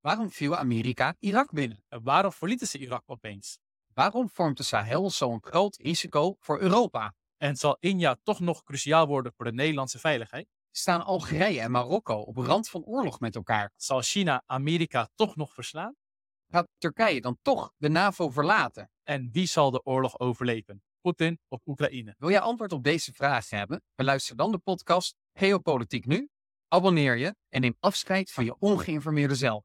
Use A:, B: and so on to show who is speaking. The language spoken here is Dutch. A: Waarom viel Amerika Irak binnen?
B: Eh,
A: En waarom verlieten ze Irak opeens? Waarom vormt de Sahel zo'n groot risico voor Europa?
B: En zal India toch nog cruciaal worden voor de Nederlandse veiligheid?
A: Staan Algerije en Marokko op rand van oorlog met elkaar?
B: Zal China Amerika toch nog verslaan?
A: Gaat Turkije dan toch de NAVO verlaten?
B: En wie zal de oorlog overleven? Poetin of Oekraïne?
A: Wil jij antwoord op deze vraag hebben? Beluister dan de podcast Geopolitiek Nu. Abonneer je en neem afscheid van je ongeïnformeerde zelf.